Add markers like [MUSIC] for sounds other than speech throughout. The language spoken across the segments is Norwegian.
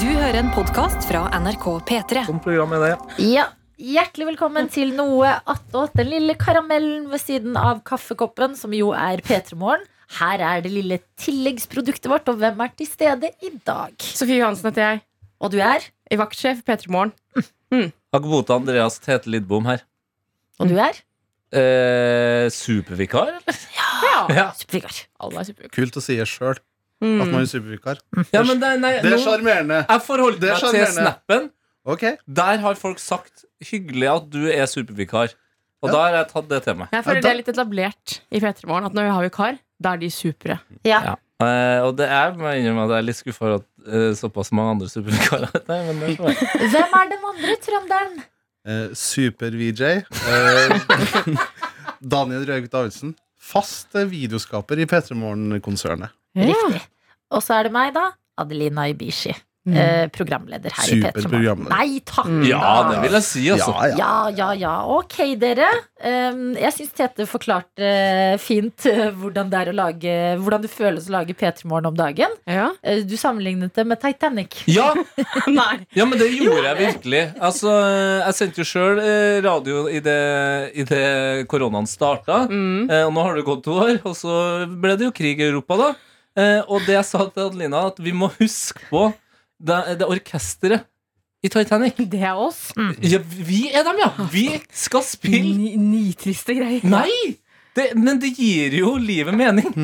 Du hører en podkast fra NRK P3. Sånn program er det. Ja, Hjertelig velkommen til noe attåt. Den lille karamellen ved siden av kaffekoppen, som jo er P3 Morgen. Her er det lille tilleggsproduktet vårt, og hvem er til stede i dag? Sofie Johansen heter jeg. Og du er? I vaktsjef i P3 Morgen. Agbota Andreas Tete Lidbom her. Og du er? Eh, supervikar? eller? Ja. Ja. Supervikar. Alle er superkule. Kult å si det sjøl, at man Mm. er supervikar. ja, men det, nei, Det er nå, sjarmerende. jeg forholder Det er meg til sjarmerende. snappen. Ok, Der har folk sagt 'hyggelig at du er supervikar'. Og Ja. da har jeg tatt det til meg. Jeg Ja, føler da- det er litt etablert i P3 Morgen at når vi har vikar, da er de supre. Ja. Ja. Eh, og det er, må jeg innrømme at jeg er litt skuffa over at eh, såpass mange andre supervikarer er dette, men det er [LAUGHS] for meg. Hvem er den andre trønderen? eh, Super-VJ. Eh, [LAUGHS] Daniel Røeg Davidsen. Fast eh, videoskaper i P3 Morgen-konsernet. Riktig. Og så er det meg, da. Adelina Ibishi. Mm. Eh, programleder her i P3 Morgen. Superprogramleder. Nei takk! Mm. Ja, det vil jeg si, altså. Ja, ja. Ja, ja, ja. Ok, dere. Um, jeg syns Tete forklarte eh, fint eh, hvordan det er å lage Hvordan det føles å lage P3 Morgen om dagen. Ja. Eh, du sammenlignet det med Titanic. Ja, [LAUGHS] Nei. ja, men det gjorde jeg virkelig. Altså, eh, jeg sendte jo sjøl eh, radio i det, i det koronaen starta. Mm. Eh, og nå har det gått to år, og så ble det jo krig i Europa, da. Eh, og det jeg sa til Adelina, at vi må huske på det, det orkesteret i Titanic. Det er oss. Ja, vi er dem, ja! Vi skal spille Ni- Nitriste greier. Nei! Det, men det gir jo livet mening.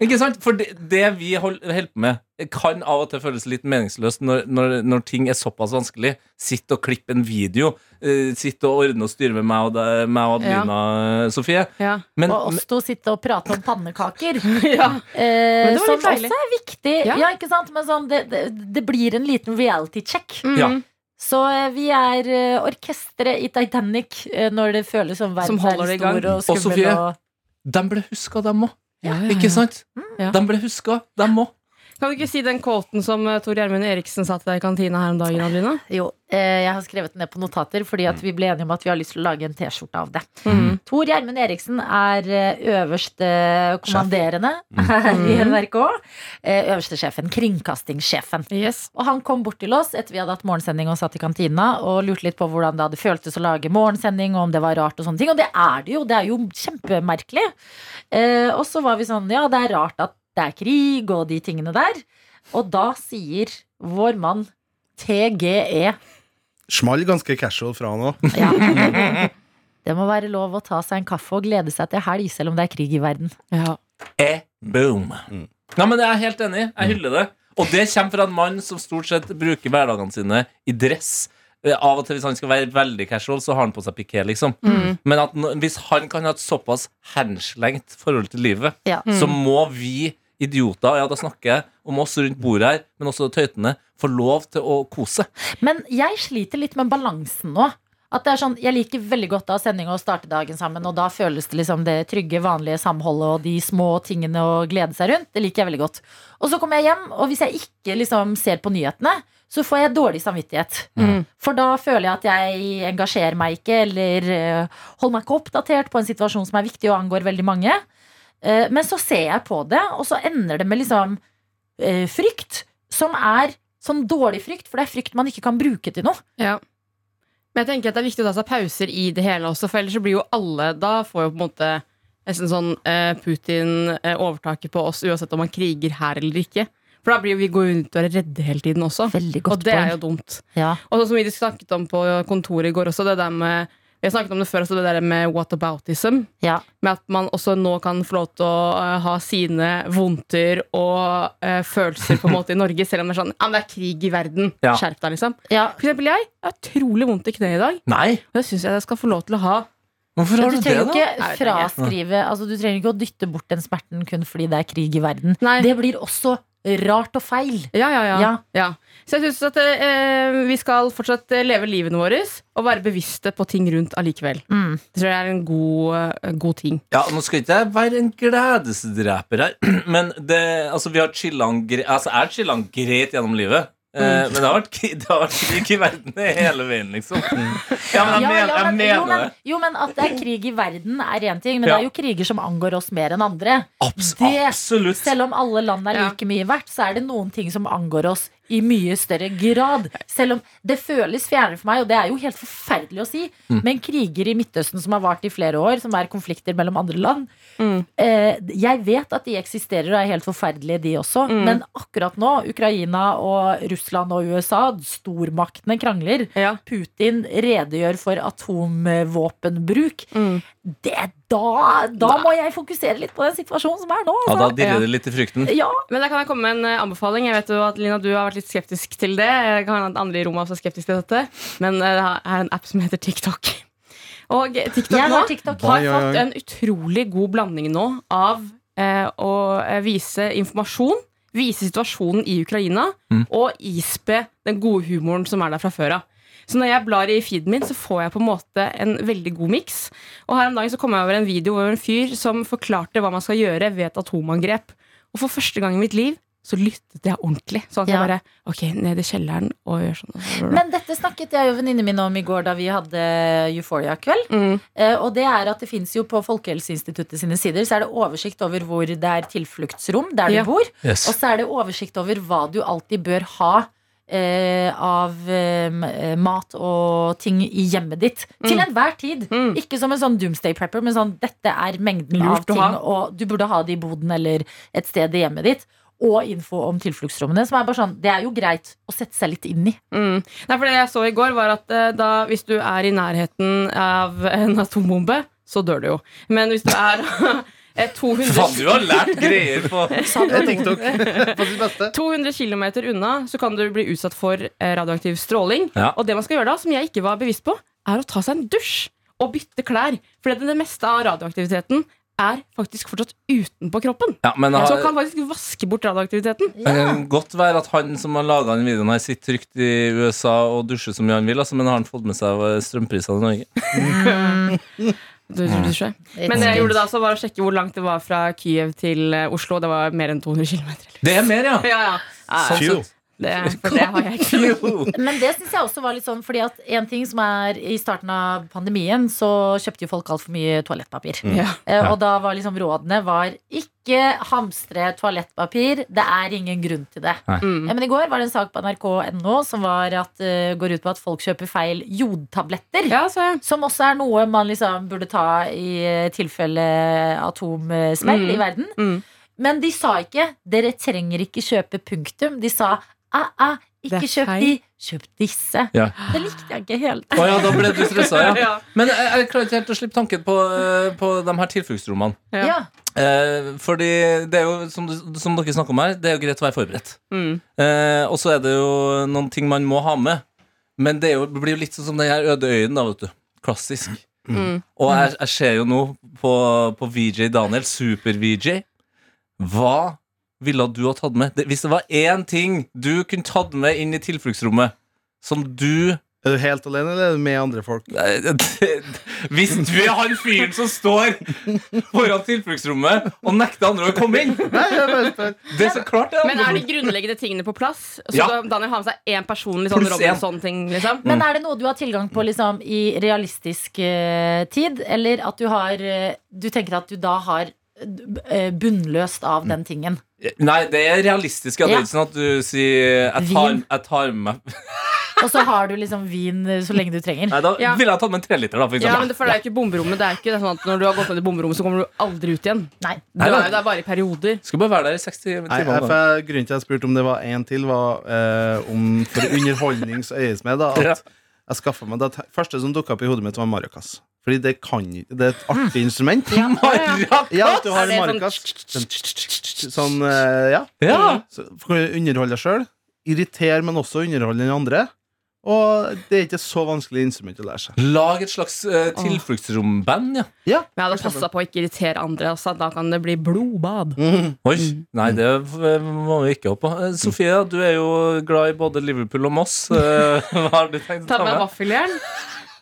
Ikke sant? For det, det vi hold- holder på med, kan av og til føles litt meningsløst når, når, når ting er såpass vanskelig. Sitt og klipp en video. eh, sitt og ordne og styre med meg og, deg- meg og Adelina, eh, Sofie. Ja. Men, Og oss to sitte og prate om pannekaker. [LAUGHS] ja. Eh, Men det var som litt også deilig. er viktig. Ja. Ja. ikke sant? Men sånn, det, det, det blir en liten reality check. Mm. Ja. Så eh, vi er eh, orkesteret i Titanic eh, når det føles som verden Som holder er det i gang. stor og Og skummel. Sofie. og- De ble huska, dem òg. Ja, ja, Mm. ja. Ikke sant? Ja. De ble huska, dem òg. Kan du ikke si den quoten som eh, Tor Gjermund Eriksen sa til deg i kantina her om dagen, Adelina? Jo, eh, jeg har skrevet ned på notater fordi at vi ble enige om at vi har lyst til å lage en T-skjorte av det. Mm. Tor Gjermund Eriksen er eh, øverste kommanderende [LAUGHS] her i NRK. Eh, Øverste sjefen, kringkastingssjefen. Yes. Og han kom bort til oss etter vi hadde hatt morgensending og satt i kantina og lurte litt på hvordan det hadde føltes å lage morgensending, og om det var rart og sånne ting. Og det er det jo. Det er jo kjempemerkelig. Eh, og så var vi sånn Ja, det er rart at det er krig og de tingene der. Og da sier vår mann E TGE Small ganske casual fra han òg. ja. Det må være lov å ta seg en kaffe og glede seg til helg, selv om det er krig i verden. Ja. Eh, boom. Mm. Mm. Nei, men Jeg er helt enig. Jeg hyller det. Og det kommer fra en mann som stort sett bruker hverdagene sine i dress. Eh, Av og til Hvis han skal være veldig casual, så har han på seg piké. Liksom. Mm. Men at, nå- hvis han kan ha et såpass henslengt forhold til livet, Ja. Mm. så må vi idioter, ja da snakker jeg om oss rundt bordet her, men også tøytene, få lov til å kose. Men jeg sliter litt med balansen nå. At det er sånn, Jeg liker veldig godt da sendinga og starte dagen sammen, og da føles det liksom det trygge, vanlige samholdet og de små tingene å glede seg rundt. Det liker jeg veldig godt. Og så kommer jeg hjem, og hvis jeg ikke liksom ser på nyhetene, så får jeg dårlig samvittighet. Mm. For da føler jeg at jeg engasjerer meg ikke, eller eh, holder meg ikke oppdatert på en situasjon som er viktig og angår veldig mange. Eh, men så ser jeg på det, og så ender det med liksom eh, frykt, som er sånn dårlig frykt, for det er frykt man ikke kan bruke til noe. Ja. Men jeg tenker at det er viktig å ta seg pauser i det hele også, for ellers så blir jo alle Da får jo på en måte nesten sånn eh, Putin eh, overtaket på oss, uansett om han kriger her eller ikke. For da blir jo vi går rundt og er redde hele tiden også. Veldig Og det er jo dumt. Ja. Og sånn som vi snakket om på kontoret i går også, det der med Vi har snakket om det før også, det der med whataboutism. Ja. Med at man også nå kan få lov til å eh, ha sine vondter og eh, følelser på en måte i Norge, selv om det er sånn Ja, men det er krig i verden. Ja. Skjerp deg, liksom. ja. For eksempel jeg jeg har utrolig vondt i kneet i dag. Nei! Og det syns jeg jeg skal få lov til å ha. Hvorfor har Men du du det, trenger jo da? ikke Nei, det trenger jeg. fraskrive altså Du trenger ikke å dytte bort den smerten kun fordi det er krig i verden. Nei. Det blir også rart og feil. Ja, ja, ja. Ja. Så jeg syns at eh, vi skal fortsatt eh, leve livene våre og være bevisste på ting rundt allikevel. Mm. Det tror jeg er en god, eh, god ting. Ja, Nå skal ikke jeg være en gledesdreper her, [CLEARS THROAT] men det, altså, vi har chillan gre altså, jeg har chillan greit gjennom livet. Eh, Men det har vært krig- det har vært krig i verden hele veien, liksom. Ja, men jeg, men, Ja, ja, jeg men- jo, mener men, det. jo, men at det er krig i verden er én ting, men Ja. det er jo kriger som angår oss mer enn andre. Abs det- absolutt. Selv om alle land er Ja. like mye verdt, så er det noen ting som angår oss i mye større grad. Selv om det føles fjernere for meg, og det er jo helt forferdelig å si, men kriger i Midtøsten som har vart i flere år, som er konflikter mellom andre land eh, Jeg vet at de eksisterer og er helt forferdelige, de også, men akkurat nå, Ukraina og Russland og USA, stormaktene krangler. Ja. Putin redegjør for atomvåpenbruk. Det, da, da må jeg fokusere litt på den situasjonen som er nå. Ja, da Altså. dirrer det litt i frykten. Ja, Men der kan jeg komme med en eh, anbefaling. Jeg vet jo at Lina, du har vært litt skeptisk til det. Jeg kan hende at andre i rommet også er skeptiske til dette. Men eh, det er en app som heter TikTok. Og TikTok jeg nå har TikTok. Oi, har oi, oi. fått en utrolig god blanding nå av eh, å eh, vise informasjon, vise situasjonen i Ukraina, Mm. og ispe den gode humoren som er der fra før av. Så når jeg blar i feeden min, så får jeg på en måte en veldig god miks. Og her om dagen så kom jeg over en video over en fyr som forklarte hva man skal gjøre ved et atomangrep. Og for første gang i mitt liv så lyttet jeg ordentlig. Sånn at Ja. jeg bare Ok, ned i kjelleren og gjør sånn. Men dette snakket jeg og venninnen min om i går da vi hadde Euphoria-kveld. mm. Eh, Og det er at det fins jo på Folkehelseinstituttet sine sider Så er det oversikt over hvor det er tilfluktsrom der du Ja. bor. Yes. Og så er det oversikt over hva du alltid bør ha eh, av eh, mat og ting i hjemmet ditt. Til enhver tid. Mm. Ikke som en sånn doomsday prepper, men sånn dette er mengden av Lurt å ting, ha. og du burde ha det i boden eller et sted i hjemmet ditt. Og info om tilfluktsrommene. Som er bare sånn, Det er jo greit å sette seg litt inn i. Mm. Nei, for det jeg så i går var at eh, da, hvis du er i nærheten av en atombombe, så dør du jo. Men hvis du er [LAUGHS] eh, 200, Faen, du har lært greier på [LAUGHS] Det er TikTok på sitt beste. 200 km unna, så kan du bli utsatt for eh, radioaktiv stråling. Ja. Og det man skal gjøre da, som jeg ikke var bevisst på, er å ta seg en dusj og bytte klær. For det, det meste av radioaktiviteten er faktisk fortsatt utenpå kroppen. ja, men, Så ha- kan faktisk vaske bort radioaktiviteten. Det kan godt være at han som har laga den videoen, her sitter trygt i USA og dusjer så mye han vil, altså, men har han fått med seg eh, strømprisene i Norge? Du, du, du, du. Men det jeg gjorde da, så var å sjekke hvor langt det var fra Kyiv til eh, Oslo. Det var mer enn 200 km. Det er mer, ja! Ja, ja. Sånn Mm. Phew. sett. Det, for det har jeg ikke. Jo. Men det syns jeg også var litt sånn, fordi at en ting som er I starten av pandemien så kjøpte jo folk altfor mye toalettpapir. Mm, Ja. Eh, Og da var liksom rådene var ikke hamstre toalettpapir. Det er ingen grunn til det. Nei. Mm. Eh, Men i går var det en sak på nrk.no som var at, eh, går ut på at folk kjøper feil jodtabletter. Ja, sa jeg. Som også er noe man liksom burde ta i eh, tilfelle atomsmell Mm. i verden. Mm. Men de sa ikke 'dere trenger ikke kjøpe punktum'. De sa 'æ-æ, Det ikke er kjøp feil. de, kjøp disse'. Ja. Det likte jeg ikke helt. Å ja, da ble du stressa, [LAUGHS] ja. Ja. Men jeg, jeg klarer ikke helt å slippe tanken på, eh, på de her tilfluktsrommene. [LAUGHS] Ja. Ja. Eh, fordi det er jo, som, du- som dere snakker om her, det er jo greit å være forberedt. Mm. Eh, og så er det jo noen ting man må ha med. Men det, er jo, det blir jo litt sånn som den her øde øyen, da, vet du. Klassisk. Mm. Og jeg, jeg ser jo nå på, på VJ Daniel, super-VJ. Hva ville du ha tatt med? Det, hvis det var én ting du kunne tatt med inn i tilfluktsrommet som du Er du helt alene, eller er du med andre folk? Nei, det- [LAUGHS] Hvis du er han fyren som står foran tilfluktsrommet og nekter andre å komme inn! Nei, jeg bare spør. Det er så klart, det. Men er de grunnleggende tingene på plass? Så Ja. da- Daniel har med seg én personlig sånn Pluss én. Robinson-ting, liksom? Men er det noe du har tilgang på liksom, i realistisk eh, tid? Eller at du har eh, Du tenker at du da har eh, bunnløst av den tingen? Nei, det er realistisk. Ja. Det Ja. er ikke sånn at du sier 'jeg tar, Vin. jeg tar med meg Og så har du liksom vin eh, så lenge du trenger? Nei, da Ja. ville jeg tatt med en treliter, da, for Ja, men eksempel. det, for det er jo ikke bomberommet. Det er ikke sånn at Når du har gått ned i bomberommet, så kommer du aldri ut igjen. Nei. Du Nei, er nei. jo der bare i perioder. Skal bare være der i 60 Nei, timer. jeg, for da. jeg, grunnen til jeg spurte om det var en til, var eh, om for underholdnings øyes med, da, Ja. at jeg skaffet meg det første som dukket opp i hodet mitt, var maracas. Fordi det kan ikke Det er et artig instrument. Maracas! Ja, at du har Er det en sånn- maracas. Sånn, sånn eh, ja. Ja. Så kan du underholde deg sjøl. Irritere, men også underholde den andre. Og det er ikke så vanskelig instrument å lære seg. Lag et slags eh, tilfluktsromband, ja. Ja, Men jeg hadde passa på å ikke irritere andre. Altså. Da kan det bli blodbad. Mhm. Oi. Mm. Nei, det eh, må vi ikke håpe på. Eh, Sofie, du er jo glad i både Liverpool og Moss. Eh, [LAUGHS] Hva har du tenkt å Ta ta med med? vaffeljern.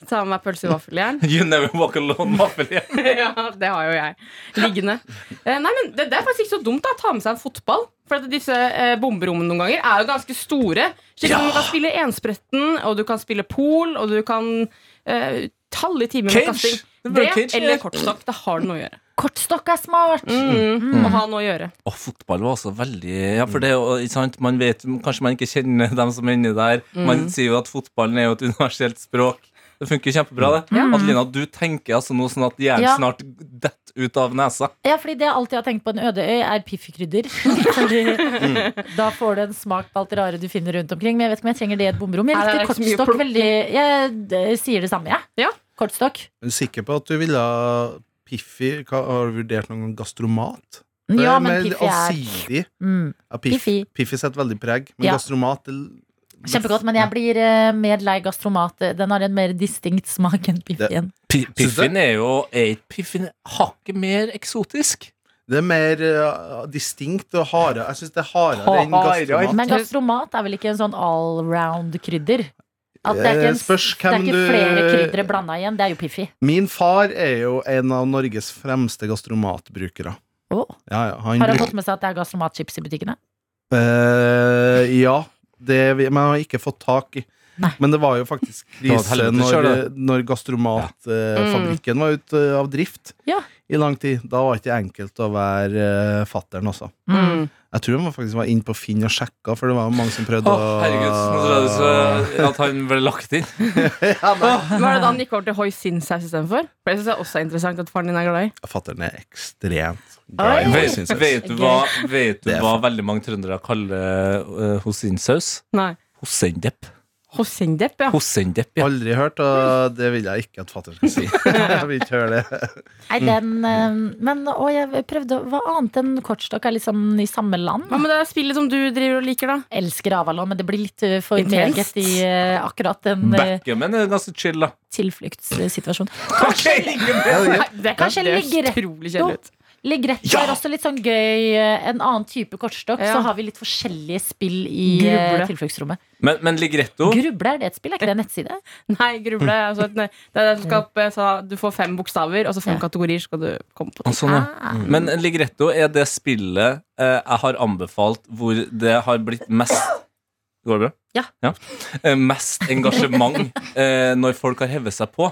Ta med meg pølse i vaffeljern. You never walk alone, vaffel igjen. [LAUGHS] ja, det har jo jeg liggende. Eh, nei, men det, det er faktisk ikke så dumt da, å ta med seg en fotball. For at disse eh, bomberommene noen ganger er jo ganske store. Slik at Du kan spille enspretten, og du kan spille pool, og du kan eh, tallet i timer med Cage. kasting. Det blir Det, cage, ja. eller kortstokk. Det har det noe å gjøre. Kortstokk er smart! Mm. Å ha noe å gjøre. Og fotball var også veldig Ja, for det er jo, ikke sant, man vet Kanskje man ikke kjenner dem som er inni der. Man sier jo at fotballen er jo et universelt språk. Det funker jo kjempebra, det. Adelina, du tenker altså nå sånn at hjernen Ja. snart detter ut av nesa. Ja, fordi det jeg alltid har tenkt på en øde øy, er piffikrydder. [LAUGHS] Fordi Mm. Da får du en smak på alt det rare du finner rundt omkring. Men jeg vet ikke om jeg trenger det i et bomrom. Jeg Nei, det likte er ikke så mye å kortstokk plukke. veldig Jeg eh, sier det samme, jeg. Ja. Kortstokk. Er du sikker på at du ville ha Piffi Hva, Har du vurdert noen gang gastromat? For Ja, det er men mer piffi er allsidig. mm, Ja, piff, Piffi. piffi. setter veldig preg. Men Ja. gastromat det- Kjempegodt, men jeg blir eh, mer lei gastromat. Den har en mer distinkt smak enn piffien. Pi- Syns du? Piffin er jo er ikke Piffin hakket mer eksotisk. Det er mer eh, distinkt og hardere. Jeg syns det er hardere enn Hardere. gastromat. Men gastromat er vel ikke en sånn allround-krydder? At det er ikke, Eh, en, spørs det er hvem ikke du- flere kryddere blanda igjen. Det er jo piffi. Min far er jo en av Norges fremste gastromatbrukere. Å. Ja, ja, han Har han bruker fått med seg at det er gastromatchips i butikkene? eh, Ja, det vi, men jeg har ikke fått tak i. Nei. Men det var [LAUGHS] jo faktisk var et krise helvete når, selv, når gastromatfabrikken var ute eh, av drift Mm. Ja. i lang tid. Da var det ikke enkelt å være eh, fatteren, altså. Mm. Mm. Jeg tror han faktisk var inne på Finn og sjekka, for det var mange som prøvde Å, herregud, nå tror jeg det så- at han ble lagt inn. Var det da han gikk over til hoisinsaus istedenfor? For det synes jeg også er interessant at faren din er glad i. Fatter'n er ekstremt Oi. glad i Vet, hoisinsaus. vet du hva, vet du Det er hva veldig mange trøndere kaller uh, hosinsaus? Nei. Hosendepp. Hoisindepp, ja. Hosendepp, ja. Aldri hørt, og det vil jeg ikke at fatter'n skal [LAUGHS] si. Jeg vil ikke høre det. Nei, Mm. den eh, Men å, jeg prøvde å- Hva annet enn kortstokk er liksom i samme land? Hva med det spillet som du driver og liker, da? Elsker Avalon, men det blir litt eh, for Intenst. meget i eh, akkurat den eh, Backgammon er ganske chill, da. tilfluktssituasjonen. Det Kanskje ligger rett utrolig kjedelig ut. Legrett er også litt sånn gøy. eh, En annen type kortstokk. Ja. Så har vi litt forskjellige spill i eh, Gruble. tilfluktsrommet. Men, men ligretto Gruble, er det et spill? Er ikke det en nettside? Nei, gruble. er Altså, et- nei, det er det som skal opp, eh, så du får fem bokstaver, og så fem Ja. kategorier skal du komme på. Og sånn, ja. Ah. Men ligretto er det spillet eh, jeg har anbefalt hvor det har blitt mest Går det bra? Ja. Eh, mest engasjement eh, når folk har hevet seg på.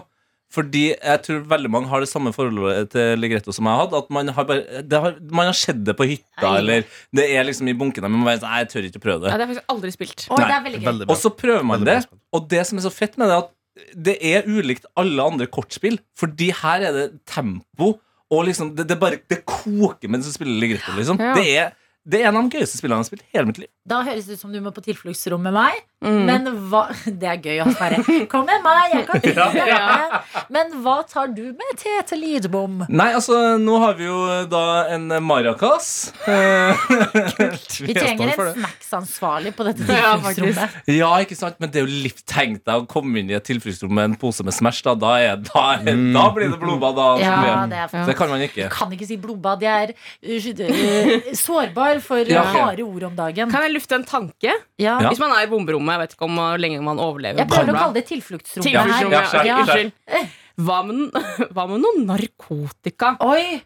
Fordi jeg tror veldig mange har det samme forholdet til ligretto som jeg hadde. At man har, bare, det har, man har sett det på hytta, Nei. eller det er liksom i bunkene. Men man bare, sånn, nei, jeg tør ikke å prøve det. Ja, det har jeg faktisk aldri spilt. Oi, Nei, det er veldig gøy. Veldig Og bra. så prøver man Veldig bra det, og det som er så fett med det, er at det er ulikt alle andre kortspill, fordi her er det tempo, og liksom Det, det bare det koker mens du spiller Ligretto, liksom. Ja. Det, er, det er en av de gøyeste spillene jeg har spilt hele mitt liv. Da høres det ut som du må på tilfluktsrom med meg. Men hva [LAUGHS] Det er gøy å være. Kom med meg, jeg kan drive med deg. Men hva tar du med te til Lidbom? Nei, altså, nå har vi jo da en maracas. [LAUGHS] Eh, [LAUGHS] Vi Jeg trenger for en det. snacksansvarlig på dette Ja, faktisk. tilfluktsrommet. ja, ikke sant, men det er jo litt Tenk deg å komme inn i et tilfluktsrom med en pose med Smash, da. Da, er, da, er, da blir det blodbad, da. Mm. Ja, Sofie. det er det kan man ikke. kan ikke si blodbad. Jeg er uh, sårbar for uh, Ja. harde ord om dagen. Kan jeg lufte en tanke? Ja. Ja. Hvis man er i bomberommet, jeg vet ikke om hvor lenge man overlever. Jeg prøver å Bla, bla. kalle det tilfluktsrommet Tilfluktsrommet, ja, her. skjær, Ja. Eh. skjær. Unnskyld. Hva med, [LAUGHS] hva med noe narkotika? Oi!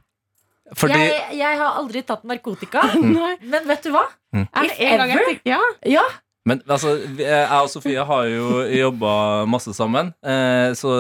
Fordi Jeg, jeg har aldri tatt narkotika. Nei. Men vet du hva? Er det If en gang jeg ever. tenker- ja. Ja, Men altså, vi- jeg og Sofie har jo jobba masse sammen, eh, så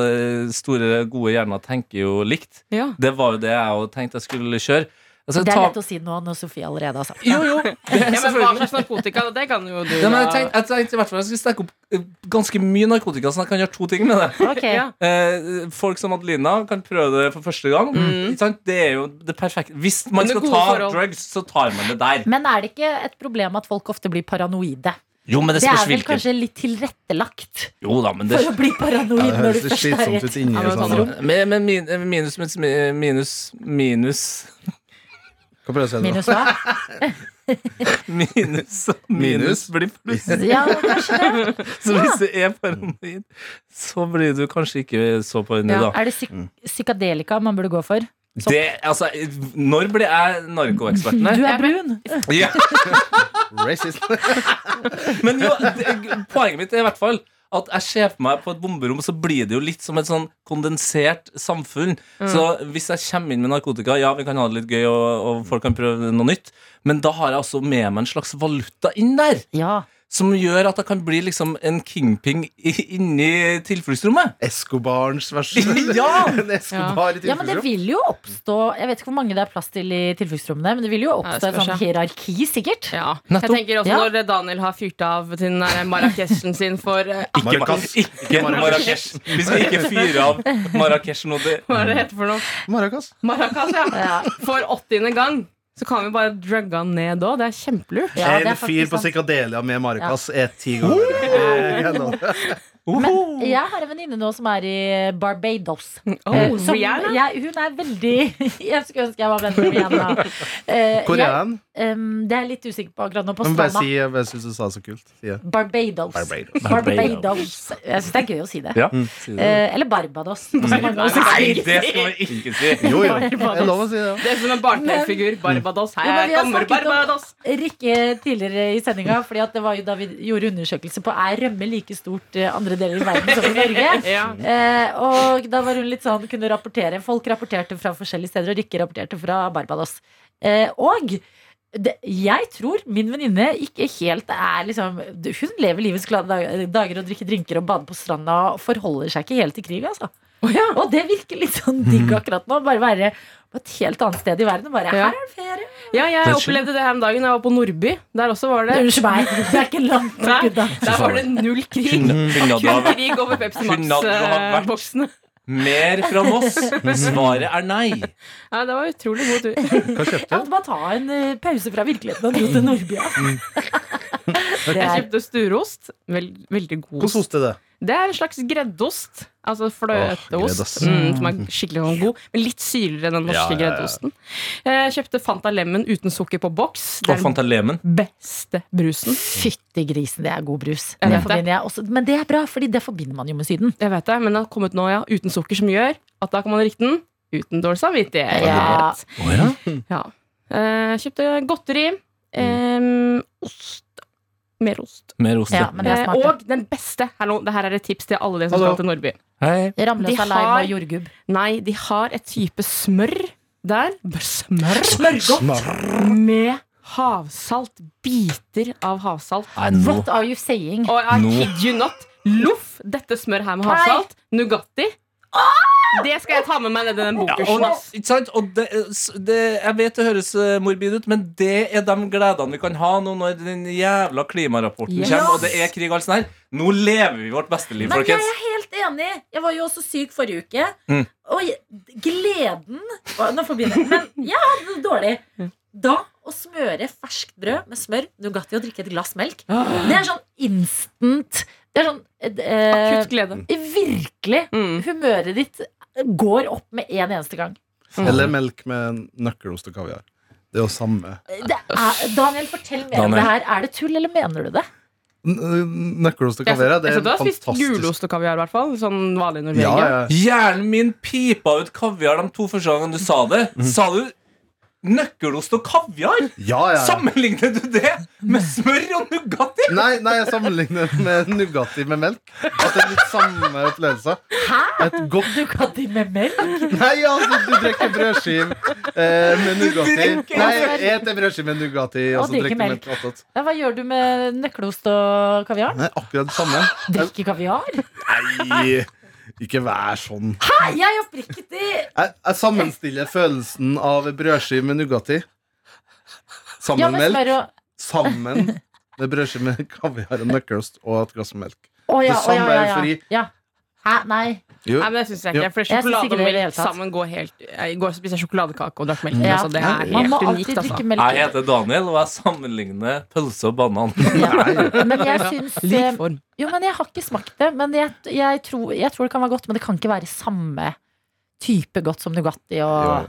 store, gode hjerner tenker jo likt. ja. Det var jo det jeg òg tenkte jeg skulle kjøre. Altså, Det er ta- lett å si nå når Sofie allerede har sagt det. Jo, [LAUGHS] jo, det er Ja, men hva selvfølgelig. slags narkotika? Det kan jo du Ja, men jeg da- tenkte, jeg tenkte i hvert fall jeg skulle stekke opp eh, ganske mye narkotika, så jeg kan gjøre to ting med det. Ok. Ja. Eh, folk som Adelina kan prøve det for første gang. Mm. Ikke sant? Det er jo det perfekte. Hvis man Under skal gode ta forhold. drugs, så tar man det der. Men er det ikke et problem at folk ofte blir paranoide? Jo, men det Det spørs er vel hvilken. kanskje litt tilrettelagt Jo da, men det for å bli Ja, paranoid det når høres du litt først er i slitsomt et ut inni Ja, men et sånt sånn- rom. Men, men min- minus, minus, minus, minus Kan prøve å si det nå. minus [LAUGHS] hva? Minus og minus Minus. blir pluss. [LAUGHS] [LAUGHS] Ja, kanskje det. Så hvis du er paranoid, så blir du kanskje ikke så paranoid, Ja, da. Er det psyk Mm. psykadelika man burde gå for? sopp? Det, altså, når ble jeg narkoeksperten Du her? er brun. Ja, Racist. [LAUGHS] men jo, det, poenget mitt er i hvert fall at jeg ser for meg på et bomberom, så blir det jo litt som et sånn kondensert samfunn. Mm. Så hvis jeg kommer inn med narkotika, ja, vi kan ha det litt gøy, altså og, og folk kan prøve noe nytt, men da har jeg også med meg en slags valuta inn der. Ja. som gjør at jeg kan bli liksom en kingping i- inni tilfluktsrommet. Escobarens versjon. Ja! En Escobar i Ja, men det tilfluktsrom. vil jo oppstå Jeg vet ikke hvor mange det er plass til i tilfluktsrommene, men det vil jo Ja, det oppstå et spørs, sånt hierarki, sikkert. Ja. Jeg Nettopp. tenker også Ja. når Daniel har fyrt av til den der Marrakeshen sin for eh, [LAUGHS] Ikke Maracas. Ikke Marrakech. Vi skal ikke fyre av Marrakech nå. Det. Hva er det heter for noe? Maracas. Maracas, ja. Ja, For åttiende gang. Så kan vi bare drugge han ned òg. Det er kjempelurt. ja det en er fyr faktisk på sant. psykadelia med Maracas er ti ganger. Eh, gjennom. Oho. Jeg har en venninne nå som er i Barbados. Eh, Oh, som, Rihanna. jeg, hun er veldig [LAUGHS] Jeg skulle ønske jeg var venn med [LAUGHS] Rihanna. Eh, Hvor er jeg, han? em, det er jeg litt usikker på akkurat nå. På Men Bare stranda. si jeg bare synes du sa det så kult. [LAUGHS] Si det. Barbados. Barbados. Barbados. Jeg syns det er gøy å si det. Ja. Eh, eller Barbados. som mange også Mm. Nei, sier. det skal man ikke si. Jo, jo. Det Barbados. er lov å si det. Det er som en bartenfigur. Barbados. Jo, men Her vi har kommer snakket om- Barbados. Rikke tidligere i sendinga, Fordi at det var jo da vi gjorde undersøkelse på er rømme like stort eh, andre deler i verden som i Norge. Ja. Eh, og da var hun litt sånn, kunne rapportere Folk rapporterte fra forskjellige steder, og Rikke rapporterte fra Barbados. Eh, og det, jeg tror min venninne ikke helt er liksom Hun lever livets glade dag- dager og drikker drinker og bader på stranda og forholder seg ikke helt til krig, altså. Og det virker litt sånn digg akkurat nå. Bare være på et helt annet sted i verden. og Bare, Ja. her er det ferie ja, jeg Det er opplevde det her om dagen. Jeg var på Nordby. Der også var det Unnskyld meg, det er ikke langt nok Nei, unna. Der var det null krig. Kunne kunne du Kun ha krig over Pepsi Kunne du ha vært- Max-boksene. mer fra Moss? Svaret er nei. Ja, det var utrolig god tur. Hva Jeg kjøpte du? måtte bare ta en eh, pause fra virkeligheten og dro til Nordbya. [LAUGHS] Det Jeg er kjøpte stureost. Vel, veldig god Hvordan hoste det? Det er en slags greddost. Altså Åh, gredd, fløteost. ass. Mm, som er skikkelig sånn god, men litt syrligere enn den norske Ja, ja, ja. greddosten. Eh, kjøpte Fanta Lemon uten sukker på boks. Det Og er den Fanta Lemen. beste brusen. Fytti grisen, det er god brus. Jeg Det vet det. forbinder jeg også. Men det er bra, fordi det forbinder man jo med Syden. Jeg vet det, men den har kommet nå, ja. Uten sukker, som gjør at da kan man drikke den uten dårlig samvittighet. Ja. Ja. Eh, kjøpte godteri. Eh, ost. Mer ost. Mer ost. Ja, ja. men det er Eh, smart. og den beste Hallo, det her er et tips til alle dere som Hallo. skal til Nordby. Hei. det. Ramløs de av lime har- og jordgubb. Nei, de har et type smør der. Smør? Smør. Med havsalt. Biter av havsalt. Nei, nå. What are you saying? Og I Nå. kid you not. Loff dette smør her med havsalt. Nugatti. Ah! Det skal jeg ta med meg ned i den bokersen. Og, ass. ikke sant? Og det, eh, s- det, jeg vet det høres eh, morbid ut, men det er de gledene vi kan ha nå når den jævla klimarapporten Yes. kommer, og det er krig og alt sånt her. Nå lever vi vårt beste liv, Men jeg folkens. er helt enig. Jeg var jo også syk forrige uke. Mm. Og jeg- gleden Å, Nå forbinder jeg. Men jeg hadde det dårlig. Da å smøre ferskt brød med smør, Nugatti og drikke et glass melk, det er sånn instant Det er sånn eh, Akutt glede. Virkelig. Mm. Humøret ditt går opp med en eneste gang. Eller melk med nøkkelost og kaviar. Det er jo samme. Det er, Daniel, fortell mer om Daniel. det her. Er det tull, eller mener du det? N- Nøkkelost og Jeg, kaviar, det jeg, er så du har spist fantastisk. gulost og kaviar, i hvert fall. Sånn vanlig Ja, Norvegia. ja. Hjernen min pipa ut kaviar de to første gangene du sa det. Sa du nøkkelost og kaviar? ja, ja. Sammenligner du det med smør og Nugatti? Nei, nei, jeg sammenligner med Nugatti med melk. At det er litt samme opplevelse. Et godt Nugatti med melk? Nei, altså, du drikker brødskive eh, med Nugatti. drikker- Nei, et brødskive med Nugatti, og Og så drikker drikker melk. attåt. Ja, hva gjør du med nøkkelost og kaviar? Nei, akkurat det samme. Drikke kaviar? Nei, ikke vær sånn. Hæ, jeg er oppriktig Jeg, jeg sammenstiller følelsen av brødskive med Nugatti Ja, men sammen med melk. smør og Sammen med brødskive med kaviar og nøkkelost og et glass med melk. Å ja, Det å ja, samme ja, er ja. eufori. ja. Hæ, nei. Jo. Nei, men det syns jeg Jo. ikke. For synes ikke sjokolade og det i det hele melk tatt. sammen går helt Jeg går og spiser sjokoladekake og drakk melk. Ja. Altså, det er Man må helt unikt, alltid altså. drikke melk. Jeg heter Daniel, og jeg sammenligner pølse og banan. Ja. Men jeg syns eh, Lik form. Jo, men jeg har ikke smakt det. Men jeg, jeg, tror, jeg tror det kan være godt, men det kan ikke være samme type godt som Nugatti og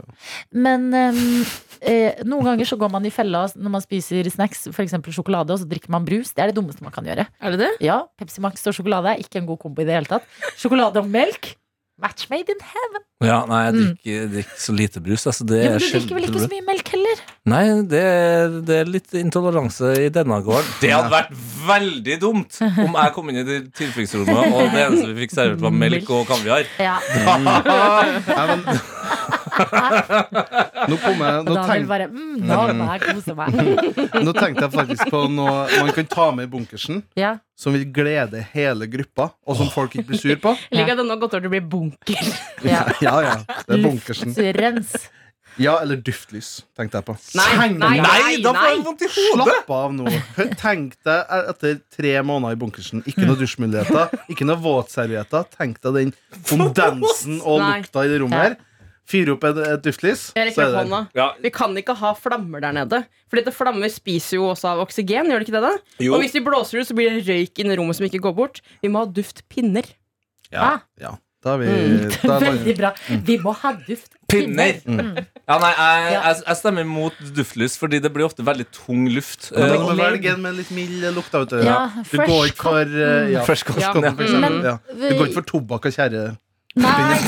Jo, jo. Men ehm, eh, noen ganger så går man i fella når man spiser snacks, f.eks. sjokolade, og så drikker man brus. Det er det dummeste man kan gjøre. Er det det? Ja, Pepsi Max og sjokolade er ikke en god kombo i det hele tatt. Sjokolade og melk. Match made in heaven. Ja, nei, jeg Mm. drikker, jeg drikker så lite brus. Altså, det er Jo, men du drikker vel sjelden ikke så mye melk heller? Nei, det, er- det er litt intoleranse i denne gården. Det hadde vært veldig dumt om jeg kom inn i det tilfluktsrommet, og det eneste vi fikk servert, var melk og kaviar. Ja. Nei, men, Nå, kom jeg, nå, Daniel tenk, bare mm, Nå må jeg kose meg. nå tenkte jeg faktisk på noe man kan ta med i bunkersen, Ja. som vil glede hele gruppa, og som folk ikke blir sur på. Jeg liker at det nå gått over til å bli bunker. Ja. [LAUGHS] Ja, ja, det er bunkersen. Rens. Ja, eller duftlys, tenkte jeg på. Nei, nei, Nei, da får jeg nei. vondt i hodet! Slapp av nå. Tenk deg etter tre måneder i bunkersen. Ikke noe dusjmuligheter, ikke noe våtservietter. Tenk deg den kondensen og Nei. lukta i det rommet her. Fyr opp et, et duftlys, Jeg rekker opp hånda. Ja, Vi kan ikke ha flammer der nede. Fordi at flammer spiser jo også av oksygen. gjør det ikke det da? jo. Og hvis vi blåser ut, så blir det røyk inn i rommet som ikke går bort. Vi må ha duftpinner. Ja, ja. Da er vi da er Veldig det- bra. Vi må ha duft. Pinner. Mm. Ja, nei, jeg, Ja. jeg, jeg stemmer mot duftlys, fordi det blir ofte veldig tung luft. Da Eh, må du velge en med litt mild lukt. vet du. Ja, du går ikke for eh, ja, Fresh cotton, cotton, Mm. ja. for eksempel. Men- Ja. Du går ikke for tobakk og kjerre. Nei,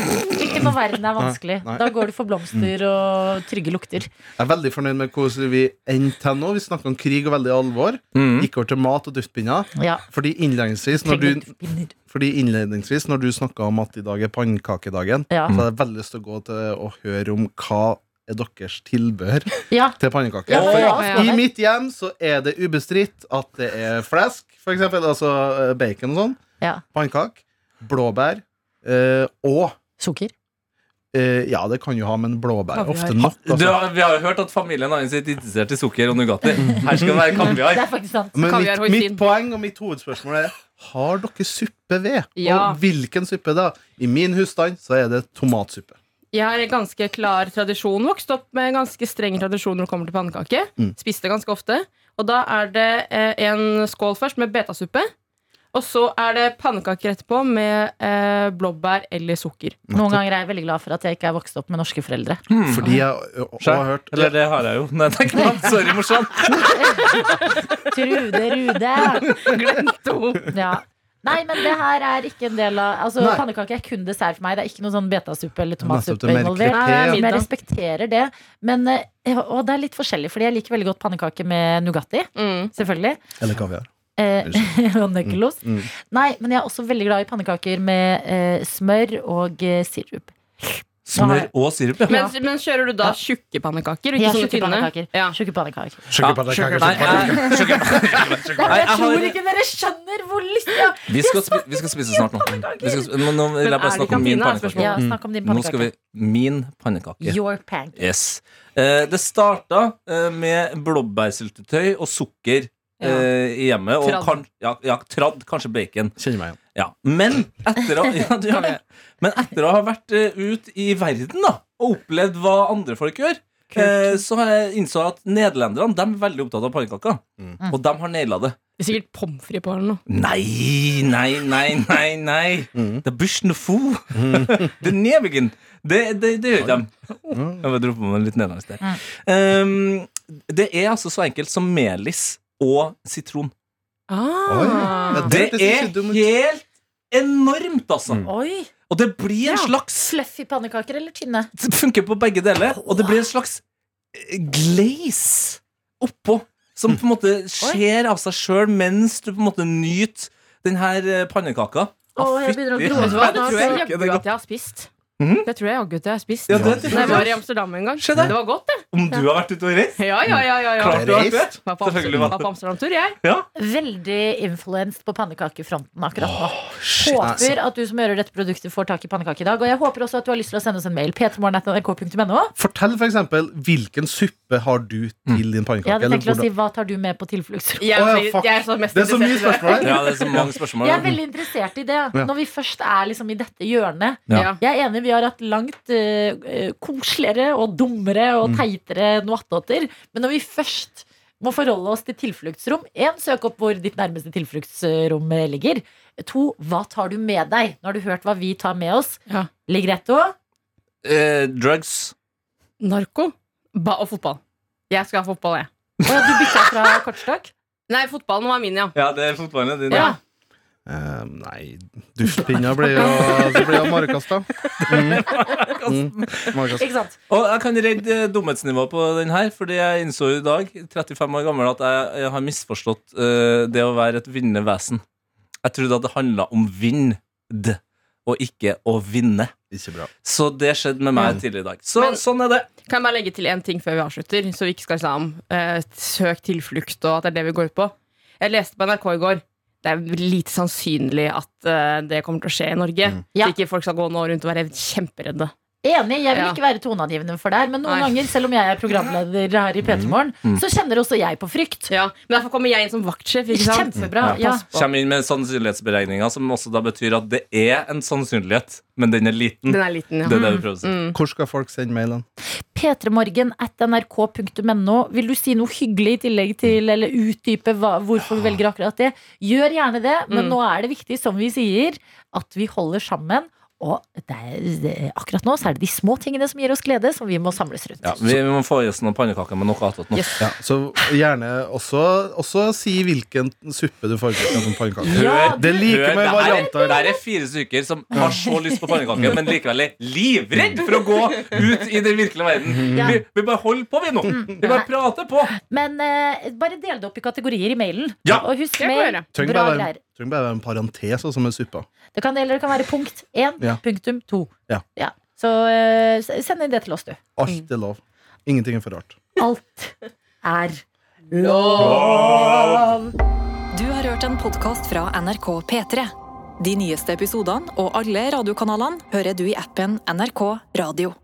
ikke når verden er vanskelig. Nei. Da går du for blomster og trygge lukter. Jeg er veldig fornøyd med hvordan vi endte her nå. Vi snakker om krig og veldig alvor. Mm. Gikk over til mat og duftpinner. Ja, Fordi innledningsvis, trygge når du, duftpinner. Fordi innledningsvis, når du snakka om at i dag er pannekakedagen, Ja. så hadde jeg veldig lyst til å gå til å høre om hva er deres tilbehør Ja. til pannekaker. Ja, For ja, ja. I mitt hjem så er det ubestridt at det er flesk, for eksempel, altså eh, bacon og sånn, Ja. pannekak, blåbær, eh, og Sukker. eh, ja, det kan jo ha, men blåbær er ofte Kaviar. nok. Du, Altså. har- vi har jo hørt at familien hans er interessert i sukker og Nugatti. Her skal det være kaviar. Det er faktisk sant. Men Kaviar, mitt, mitt hoisin. poeng og mitt hovedspørsmål er har dere suppe ved? Ja. Og hvilken suppe da? I min husstand så er det tomatsuppe. Jeg har en ganske klar tradisjon. Vokste opp med en ganske streng tradisjon når det kommer til pannekake. Mm. Spiste ganske ofte. Og da er det eh, en skål først med betasuppe. Og så er det pannekaker etterpå med eh, blåbær eller sukker. Noen ganger er jeg veldig glad for at jeg ikke er vokst opp med norske foreldre. Mm. Fordi jeg og, og har hørt Hmm. Eller det har jeg jo. Nei, det er ikke sant. Sorry, morsan. Trude [LAUGHS] Rude! Glemte hun. Ja. Nei, men det her er ikke en del av Altså, Nei. Pannekake er kun dessert for meg. Det er ikke noe sånn betasuppe eller Nettopp, tomatsuppe det merker involvert. Nei, det er jeg. min- Men jeg Middag. respekterer det. Men, eh, og det er litt forskjellig, fordi jeg liker veldig godt pannekake med Nugatti. Mm. Selvfølgelig. Eller kaviar. Eh, [LAUGHS] og nøkkelos. Mm, mm. Nei, men jeg er også veldig glad i pannekaker med eh, smør og eh, sirup. Smør og sirup, ja. Men, men kjører du da tjukke pannekaker? Ikke Ja, sånne tjukke tynne? pannekaker. Ja. Tjukke pannekaker. Nei, eh, jeg- Nei, Nei, men jeg jeg tror har- ikke dere skjønner hvor lyst jeg har. Vi skal, spi vi skal spise snart nå. Vi skal, sp- nå, nå vil jeg Oh Men er bare det snakke om min kantina, er pannekake. spørsmålet? Mm. Ja, snakk om din Nå skal vi pannekake. Min pannekake. Your pancake. Yes. Eh, det starta eh, med blåbærsyltetøy og sukker eh, i hjemmet. Og Tradd. kan, ja, ja, tradd, kanskje bacon. Kjenner meg igjen. Ja. Men etter å, [LAUGHS] ja, du gjør det. Men etter å ha vært eh, ut i verden da, og opplevd hva andre folk gjør, eh, så har jeg innså at nederlenderne de er veldig opptatt av pannekaker. Mm. Og de har naila det. Det er sikkert pommes frites på eller noe. Nei, nei, nei, nei, nei. Mm. Det er bush no fou. [LAUGHS] Det er Nevigen. Det, det, det gjør de. Jeg Mm. bare dro på meg litt nederlandsk der. Um, det er altså så enkelt som melis og sitron. Oi. Ah. Ja, Det hørtes er ikke dumt ut. helt enormt, altså. Mm. Oi! Og det blir en Ja. slags Fluffy pannekaker eller tynne? Det funker på begge deler, og det blir en slags eh, glaze oppå. Som på en Mm. måte skjer av seg sjøl mens du på en måte nyter den her eh, pannekaka. Å, Ah, jeg begynner å fytti. gråte. Vet du hva? Det tror jeg Ja, jaggu det er at jeg har spist. Mhm. Det tror jeg jaggu at jeg har spist. Ja, det tror Da jeg var i jeg. Amsterdam en gang. Se der. Det var godt, det. Om du har vært ute og reist? Ja, ja, ja, ja, ja. Klart du har vært det. Var på Selvfølgelig var Amsterdam- var det. på Amsterdam-tur, jeg. Veldig influenced på pannekakefronten akkurat nå. Shit, altså. håper at du som hører dette produktet, får tak i pannekake i dag. Og jeg håper også at du har lyst til å sende oss en mail. p3morgen.nrk.no. Fortell for eksempel, hvilken suppe har du til din Jeg pannekake? hadde eller tenkt å si hvordan- hva tar du med på tilfluktsrommet? Jeg, Å, ja, fuck. jeg er så mest Det er så interessert mye i det. [LAUGHS] spørsmål her. Ja, det er så mange spørsmål. Jeg er veldig interessert i det. Ja. Når vi først er liksom i dette hjørnet. Ja. Ja. Jeg er enig, vi har hatt langt eh, eh, koseligere og dummere Mm. og teitere noattåter. Men når vi først må forholde oss til tilfluktsrom Én, søk opp hvor ditt nærmeste tilfluktsrom eh, ligger. To, hva tar du med deg? Nå har du hørt hva vi tar med oss. Ja. Ligretto. Eh, drugs. Narko ba og fotball. Jeg skal ha fotball, jeg. Å ja, du bytta [LAUGHS] fra kortstokk? Nei, fotballen var min, ja. Ja, det er fotballen din. Ja. Eh, nei, duftpinner blir jo Det blir jo marekast, [LAUGHS] da. Mm. Mm. Marekast. Ikke sant? Og jeg kan redde eh, dumhetsnivået på den her, fordi jeg innså i dag, 35 år gammel, at jeg, jeg har misforstått eh, det å være et vinnende vesen. Jeg trodde at det handla om vind. og ikke å vinne. Ikke bra. Så det skjedde med meg Mm. tidligere i dag. Så Men- sånn er det. Kan jeg bare legge til én ting før vi avslutter, så vi ikke skal liksom, eh, søke tilflukt og at det er det vi går ut på? Jeg leste på NRK i går. Det er lite sannsynlig at eh, det kommer til å skje i Norge. Mm. Ja. Så ikke folk skal gå nå rundt og være kjemperedde. Enig, jeg vil Ja. ikke være toneangivende for deg, men noen Nei. ganger, selv om jeg er programleder her i P3morgen, Mm. så kjenner også jeg på frykt. Ja, Men derfor kommer jeg inn som vaktsjef. ikke sant? Kjempebra. Ja, Ja. pass på. Kommer inn med sannsynlighetsberegninger, som også da betyr at det er en sannsynlighet, men den er liten. Den er liten, ja. Det er det vi prøver å si. Mm. Hvor skal folk sende mailene? P3morgen at nrk.no. Vil du si noe hyggelig i tillegg til, eller utdype hva, hvorfor du velger akkurat det? Gjør gjerne det, men Mm. nå er det viktig, som vi sier, at vi holder sammen. Og det er, det, akkurat nå så er det de små tingene som gir oss glede, som vi må samles rundt. Ja, vi, vi må få i oss noen pannekaker med noe attåt nå. Yes. Ja, så gjerne også, også si hvilken suppe du foretrekker som pannekake. Ja, Det liker med Hør, varianter. Der er fire stykker som har så lyst på pannekaker, men likevel er livredd for å gå ut i den virkelige verden. Ja. Vi, vi bare holder på, vi nå. Vi bare prater på. Men eh, bare del det opp i kategorier i mailen. Ja. Og husk Det går mail. gjøre. Trenger Bra bare, være- greier. trenger bare være en parentes også med suppa. Det kan, eller det kan være punkt én, Ja. punktum to. Ja. Så eh, s- send inn det til oss, du. Alt Mm. er lov. Ingenting er for rart. Alt er lov. Du har hørt en podkast fra NRK P3. De nyeste episodene og alle radiokanalene hører du i appen NRK Radio.